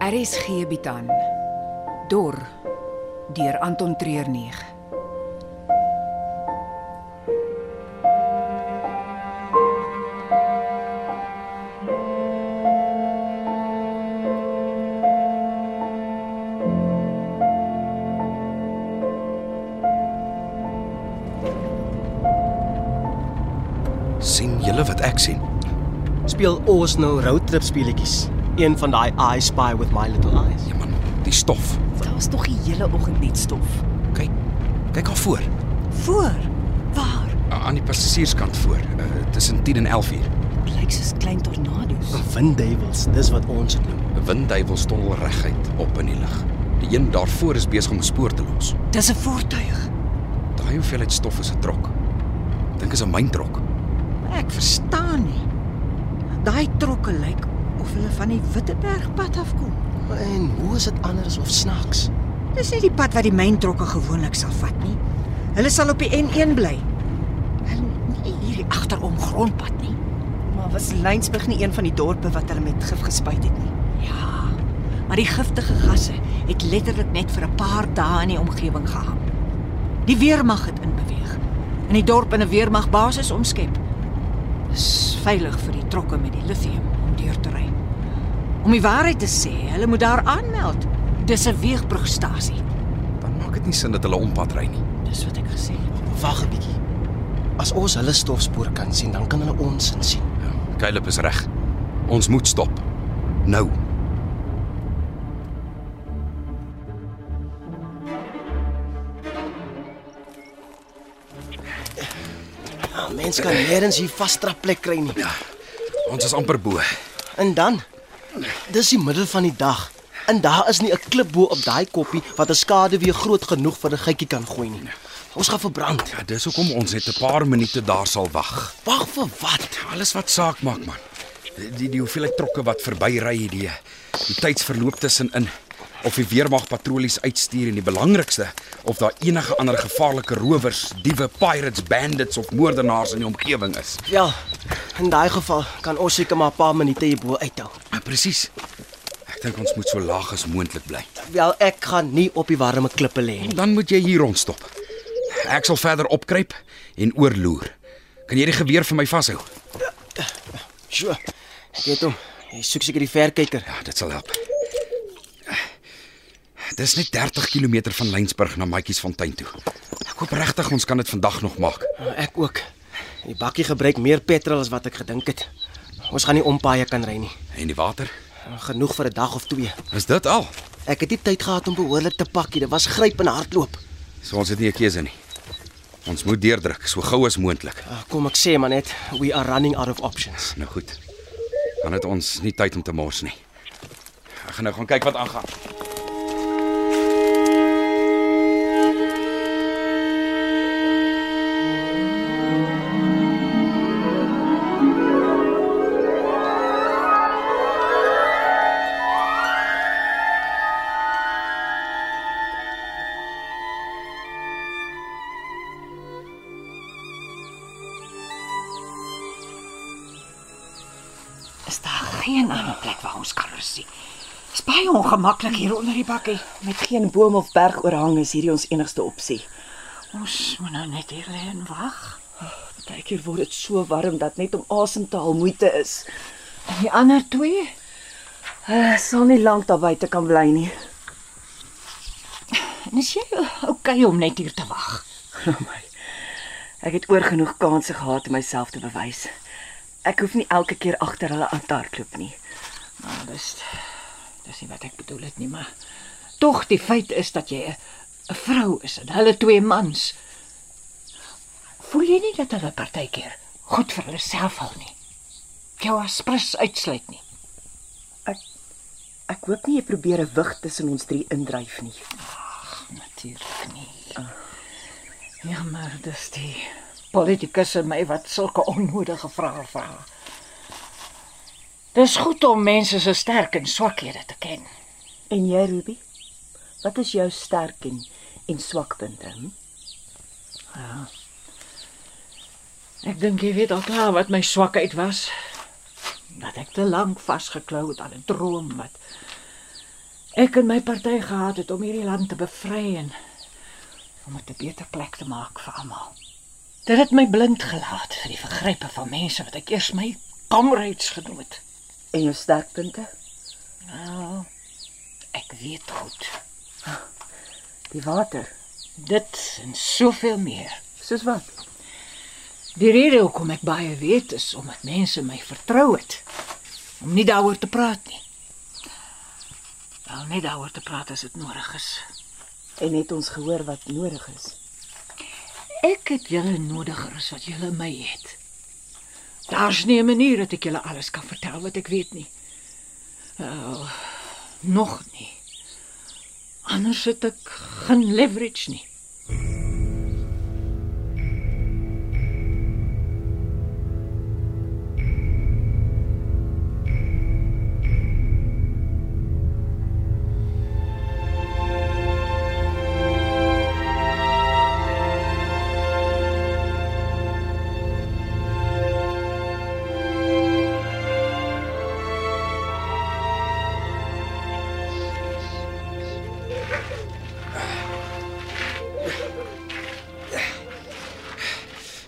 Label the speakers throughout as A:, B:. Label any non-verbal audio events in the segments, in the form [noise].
A: RSG bied aan Dor deur Anton Treurnig.
B: sien julle wat ek sien?
C: Speel ons nou roadtrip speletjies. Een van daai I Spy with My Little Eyes.
B: Ja man, die stof.
D: Daar's tog die hele oggend net stof.
B: Kyk. Kyk daar voor.
D: Voor. Waar?
B: a- Aan die passasierskant voor. Uh, tussen 10 en 11 uur.
D: Lyk soos klein tornado's.
C: Wind Devils, dis wat ons dit noem.
B: 'n Windduiwel stond reguit op in die lug. Die een daarvoor is besig om 'n spoor te los.
D: Dis 'n voertuig.
B: Daai hoeveelheid stof is 'n trok. Ek Dink is 'n myntrok.
E: Ek verstaan nie. Daai trokke lyk of hulle van die Wittebergpad afkom.
C: En hoe is dit anders of snaaks?
E: Dis nie die pad wat die myntrokke gewoonlik sal vat nie. Hulle sal op die N1 bly. En nie hierdie agterom grondpad nie.
D: Maar was Lynsburg nie een van die dorpe wat hulle met gif gespuit het nie?
E: Ja. Maar die giftige gasse het letterlik net vir 'n paar dae in die omgewing gehang. Die weermag het inbeweeg en die dorp in 'n weermagbasis omskep. Dis veilig vir die trokke met die lithium om deur te ry. Om die waarheid te sê, hulle moet daar aanmeld. Dis 'n weegbrugstasie.
B: Dan maak dit nie sin dat hulle ompad ry nie.
E: Dis wat ek gesê het.
C: Wag 'n bietjie. As ons hulle stofspoor kan sien, dan kan hulle ons insien.
B: Ja, Caleb is reg. Ons moet stop. Nou.
C: Ja, mens kan nêrens hier vastrap plek kry nie.
B: Ons is amper bo. Eh,
C: En dan dis die middel van die dag. En daar is nie 'n klip bo op daai koppie wat 'n skade weer groot genoeg vir 'n gietjie kan gooi nie. Ons gaan verbrand.
B: Ja, dis hoekom ons net 'n paar minute daar sal wag.
C: Wag vir wat?
B: Alles wat saak maak, man. Die die, die hoeveelheid trokke wat verbyry die die tydsverloop tussenin of die weermag patrollies uitstuur en die belangrikste of daar enige ander gevaarlike rowers, diewe, pirates, bandits of moordenaars in die omgewing is.
C: Ja, in daai geval kan ons seker maar 'n paar minute hierbo uithou.
B: Ja, presies. Ek dink ons moet so laag as moontlik bly.
C: Wel, ek gaan nie op die warme klippe lê nie.
B: Dan moet jy hier rondstop. Ek sal verder opkruip en oorloer. Kan jy die geweer vir my vashou?
C: Sjoe. Ek het hom. Hy soek seker die verkyker.
B: Ja, dit sal help. Dis net 30 km van Lensburg na Matjiesfontein toe. Ek hoop regtig ons kan dit vandag nog maak.
C: Ek ook. Die bakkie gebruik meer petrol as wat ek gedink het. Ons gaan nie ompaaie kan ry nie.
B: En die water?
C: Genoeg vir 'n dag of twee.
B: Is dit al?
C: Ek het nie tyd gehad om behoorlik te pak nie. Dit was gryp en hardloop.
B: So ons het nie 'n keuse nie. Ons moet deurdruk so gou as moontlik.
C: Ah, Kom ek sê maar net, we are running out of options.
B: Nou goed. Dan het ons nie tyd om te mors nie. Ek gaan nou gaan kyk wat aangaan.
E: Is daar geen ander plek waar ons kan rus nie. Dis baie ongemaklik hier onder die bakkie.
D: Met geen boom of berg oorhang is hierdie ons enigste opsie.
E: Ons moet nou net hier lê en wag.
D: Partykeer word dit so warm dat net om asem te haal moeite is.
E: En die ander twee?
D: Ek sal nie lank daar buite kan bly nie.
E: En is jy okay om net hier te
D: [laughs]
E: wag?
D: Glo my. Ek het oor genoeg kansse gehad om myself te bewys. Ek hoef nie elke keer agter hulle aan te hardloop nie.
E: Nou, dis dis nie wat ek bedoel het nie, maar tog die feit is dat jy 'n 'n vrou is en hulle twee mans. Voel jy nie dat hulle partykeer goed vir hulle self hou nie? Jou as prins uitsluit nie.
D: Ek hoop nie jy probeer 'n wig tussen ons drie indryf nie. Ah.
E: Natuurlik nie. Ja, maar dis die politikus in my wat sulke onnodige vrae vra. Dis goed om mense se sterk en swakhede te ken.
D: En jy, Ruby? Wat is jou sterk en en swakpunte? Hm?
E: Ja. Ek dink jy weet al klaar wat my swakheid was. Dat ek te lank vasgeklou het aan 'n droom wat ek en my party gehad het om hierdie land te bevry en om dit 'n beter plek te maak vir almal. Dit het my blind gelaat vir die vergrype van mense wat ek eers my kamerads genoem het.
D: En jou sterkpunte?
E: Nou, ek weet goed.
D: Ah, Die water,
E: Dit en soveel meer.
D: soos wat?
E: Die rede hoekom ek baie weet is omdat mense my vertrou het om nie daaroor te praat nie. Wel net daaroor te praat as dit nodig is.
D: En het ons gehoor wat nodig is.
E: Ek het julle nodiger as wat julle my het. Daar's nie 'n manier dat ek julle alles kan vertel wat ek weet nie. Uh, nog nie. Anders het ek geen leverage nie.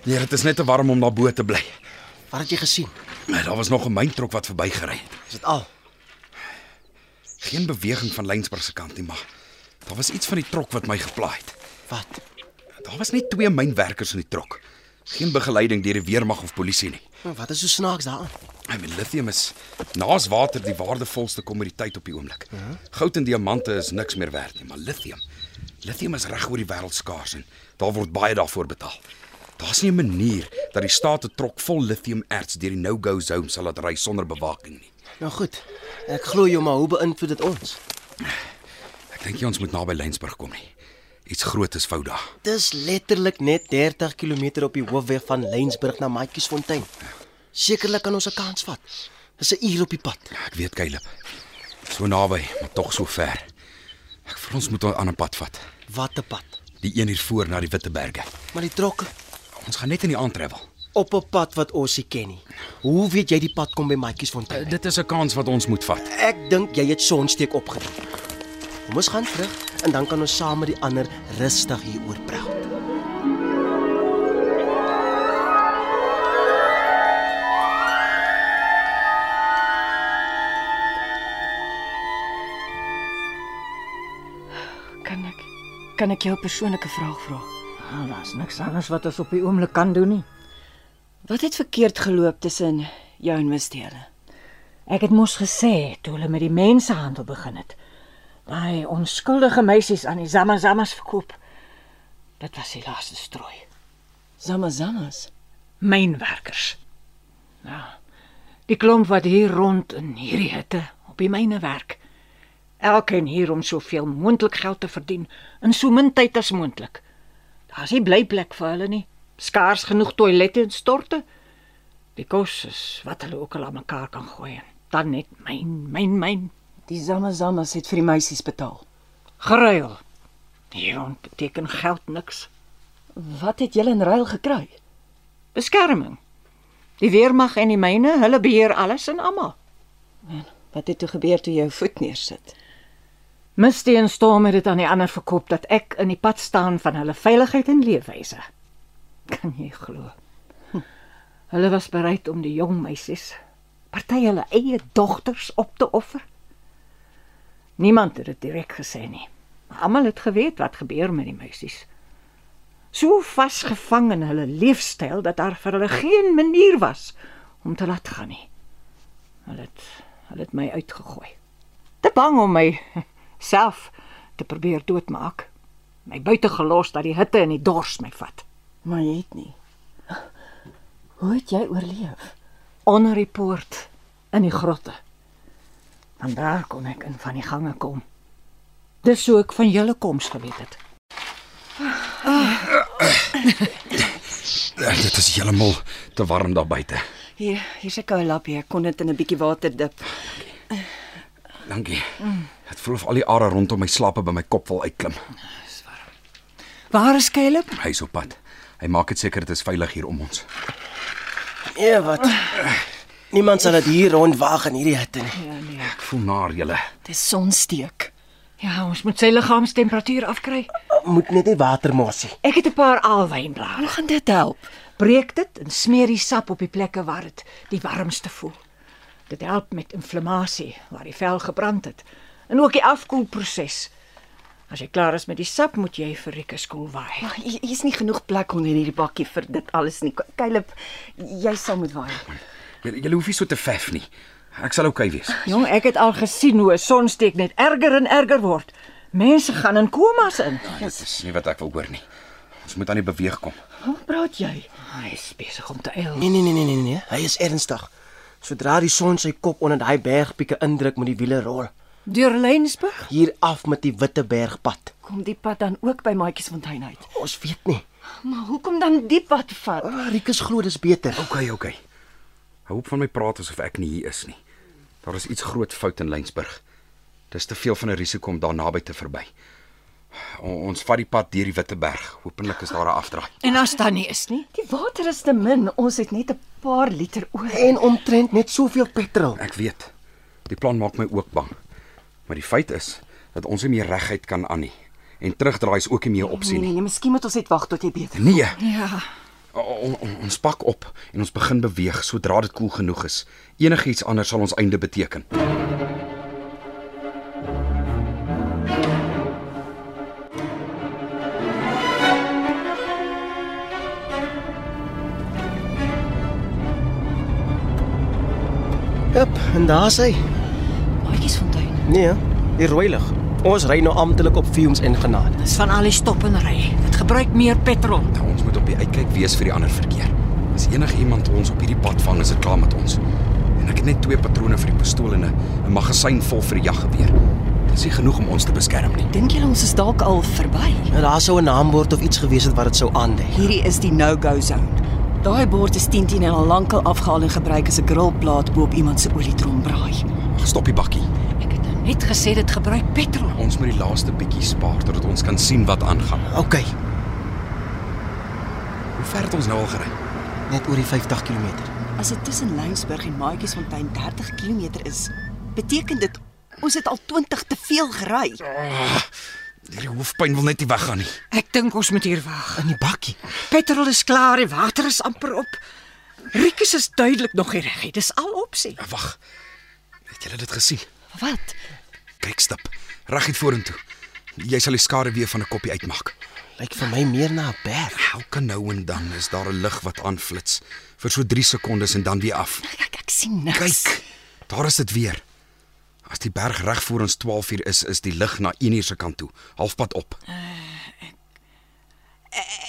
B: Nee, dit is net te warm om na bo te bly.
C: Wat het jy gesien?
B: Daar was nog 'n myntrok wat verbygery het.
C: Is dit al?
B: Geen beweging van Lensburg se kant nie, maar daar was iets van die trok wat my geplaai het.
C: Wat?
B: Daar was net twee mynwerkers in die trok. Geen begeleiding deur die weermag of polisie nie.
C: Nou, Wat is so snaaks daaraan?
B: I mean lithium is naas water die waardevolste kommoditeit op die oomblik. Goud en diamante is niks meer werd nie, maar lithium. Lithium is reg oor die wêreld skaars en daar word baie daarvoor betaal. Daar's nie 'n manier dat die staat 'n trok vol lithiumerts deur die no-go zone sal laat ry sonder bewaking nie.
C: Nou goed. Ek glo jou, maar hoe beïnvloed dit ons?
B: Ek dink jy ons moet naby Lensburg kom nie. Iets groot is fout daar.
C: Dis letterlik net 30 km op die hoofweg van Lensburg na Maatjiesfontein. Sekerlik kan ons 'n kans vat. Dis 'n uur op die pad.
B: Ja, Ek weet Caleb. So naby, maar tog so ver. Ek vir ons moet 'n ander pad vat.
C: Wat 'n pad.
B: Die een hier voor na die Witteberge.
C: Maar die trokke
B: Ons gaan net in die aand travel.
C: op 'n pad wat ons nie ken nie. Hoe weet jy die pad kom by Maatjiesfontein?
B: Uh, dit is 'n kans wat ons moet vat.
C: Ek dink jy het sonsteek opgedoen. Kom ons gaan terug en dan kan ons saam met die ander rustig hieroor praat.
D: Kan ek kan ek jou 'n persoonlike vraag vra?
E: Nou, daar's niks anders wat ons op die oomblik kan doen nie.
D: Wat het verkeerd geloop tussen jou en Mistele?
E: Ek het mos gesê toe hulle met die mensehandel begin het. Daai onskuldige meisies aan die zamazamas verkoop. Dit was die laaste strooi.
D: Zamazamas.
E: Mynwerkers. Ja. Die klomp wat hier rond in hierdie hitte op die myne werk. Elkeen hier om soveel moontlik geld te verdien in so min tyd as moontlik. Daar's nie blyplek vir hulle nie. Skaars genoeg toilette en storte. Die kos is wat hulle ook al aan mekaar kan gooi. Dan net myn, myn, myn.
D: Die Zamazamas het vir die meisies betaal.
E: Geruil. Hierond beteken geld niks.
D: Wat het julle in ruil gekry?
E: Beskerming. Die weermag en die myne, hulle beheer alles en almal.
D: Wat het toe gebeur toe jy jou voet neersit?
E: Misty en Storm het dit aan die ander verkoop dat ek in die pad staan van hulle veiligheid en leefwyse. Kan jy glo? Hm. Hulle was bereid om die jong meisies, party hulle eie dogters op te offer. Niemand het dit direk gesê nie. maar Almal het geweet wat gebeur met die meisies. So vasgevang in hulle leefstyl dat daar vir hulle geen manier was om te laat gaan nie. Hulle het hulle het my uitgegooi. Te bang om my self te probeer doodmaak. My buite gelos dat die hitte en die dors my vat.
D: Maar jy het nie. Hoe het jy oorleef?
E: Onder die poort in die grotte. Van daar kon ek in van die gange kom. Dis hoe ek van julle koms geweet het.
B: Uh, dit is heeltemal te warm daar buite.
D: Hier, hier's 'n koue lappie. Ek kon dit in 'n bietjie water dip.
B: Dankie. Dit voel of al die are rondom my slappe by my kop wil uitklim.
E: Waar is Caleb?
B: Hy is op pad. Hy maak dit seker dit is veilig hier om ons.
C: Nee, wat? Niemand sal dit hier rond waag in hierdie hitte nie.
B: Ek voel naar julle.
D: Dis sonsteek.
E: Ja, ons moet sy liggaamstemperatuur afkry.
C: Moet net nie water mors nie.
E: Ek het 'n paar alwynblare.
D: Hoe gaan dit help?
E: Breek dit en smeer die sap op die plekke waar dit die warmste voel. Dit help met inflammasie waar die vel gebrand het en ook die afkoelproses. As jy klaar is met die sap, moet jy vir Rikus koel waai.
D: Ag, hier hier is nie genoeg plek onder hierdie bakkie vir dit alles nie. Caleb, jy sal moet waai.
B: Julle julle hoef nie so te vef nie. Ek sal oukei okay wees.
E: Jong, ek het al gesien hoe 'n sonsteek net erger en erger word. Mense gaan in komas in.
B: Dit is nie wat ek wil hoor nie. Ons moet aan die beweeg kom.
E: Hoe praat jy? Hy is besig om te eil.
C: Nee nee nee nee nee nee, hy is ernstig. Sodra die son sy kop onder daai bergpieke indruk, moet die wiele rol.
E: Deur Lensburg?
C: Hier af met die Wittebergpad.
D: Kom die pad dan ook by Maatjiesfontein uit.
C: Ons weet nie.
D: Maar hoekom dan die pad vat?
C: Ah, Rikus glo dis beter.
B: Oukei, okay, oukei. Okay. Hou op van my praat asof ek nie hier is nie. Daar is iets groot fout in Lensburg. Dis te veel van 'n risiko om daar naby te verby. O, ons vat die pad deur die Witteberg. Hoopelik is daar 'n afdraai.
E: En as dan nie is nie.
D: Die water is te min. Ons het net 'n paar liter oor.
C: En omtrent net soveel petrol.
B: Ek weet. Die plan maak my ook bang. Maar die feit is dat ons nie meer reguit kan aan nie. En terugdraai is ook nie meer 'n opsie nie.
D: nee, miskien moet ons net wag tot jy beter.
B: Nee,
E: Ja.
B: on, on, ons pak op en ons begin beweeg sodra dit koel genoeg is. Enigiets anders sal ons einde beteken.
C: Jep, en daar's hy.
E: Maatjiesfontein.
C: Nee, die rooi lig. Ons ry nou amptelik op fumes en genade.
E: Dis van al die stop en ry. Dit gebruik meer petrol.
B: Nou, ons moet op die uitkyk wees vir die ander verkeer. As enigiemand ons op hierdie pad vang, is dit klaar met ons. En ek het net twee patrone vir die pistool en 'n 'n magasyn vol vir die jaggeweer. Dit is nie genoeg om ons te beskerm nie.
A: Dink julle ons is dalk al verby?
C: Nou daar sou 'n naambord of iets gewees het wat dit sou aandui.
A: Hierdie is die no-go zone. Daai bord is 10 10 en al lankal afgehaal en gebruik as 'n grillplaat bo op iemand se olietrom braai.
B: Ag, Stop die bakkie. Ja,
E: Ek het nou net gesê dit gebruik petrol.
B: Ons moet die laaste bietjie spaar totdat ons kan sien wat aangaan.
C: OK,
B: Hoe ver het ons nou al gery?
C: net oor die 50 km.
A: As dit tussen Lensburg en Maatjiesfontein 30 km is, beteken dit ons het al 20 te veel gery.
B: Hierdie hoofpyn wil net nie weggaan nie.
E: Ek dink ons moet hier wag.
C: In die bakkie.
E: Petrol is klaar, die water is amper op. Rikus is duidelik nog nie reg nie. Dis al opsie.
B: Ja, Wag. Het julle dit gesien?
A: Wat?
B: Kyk stap. Reguit vorentoe. Jy sal die skare weer van 'n koppie uitmaak.
C: Lyk vir my meer na 'n berg.
B: Hou kan nou en dan is daar 'n lig wat aanflits vir so 3 sekondes en dan weer af.
A: Kyk, ek sien niks.
B: Kyk, daar is dit weer. As die berg reg voor ons 12uur is, is die lig na 1uur se kant toe, halfpad op.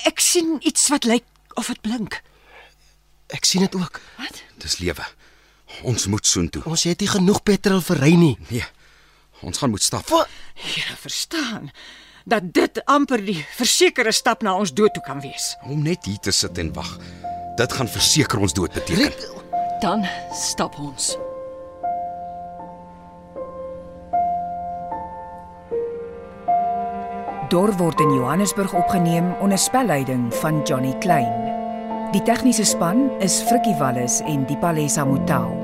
E: Ek sien iets wat lyk of dit blink.
C: Ek sien dit ook.
B: Dis lewe. Ons moet soontoe.
C: Ons het nie genoeg petrol vir ry nie.
B: Nee. Ons gaan moet stap.
E: Here, Ja, verstaan dat dit amper die versekerde stap na ons dood toe kan wees.
B: Om net hier te sit en wag. Dit gaan verseker ons dood beteken.
C: Riek,
A: Dan stap ons.
F: Dor word in Johannesburg opgeneem onder spelleiding van Johnny Klein. Die tegniese span is Frikkie Wallis en Dipalesa Motelo.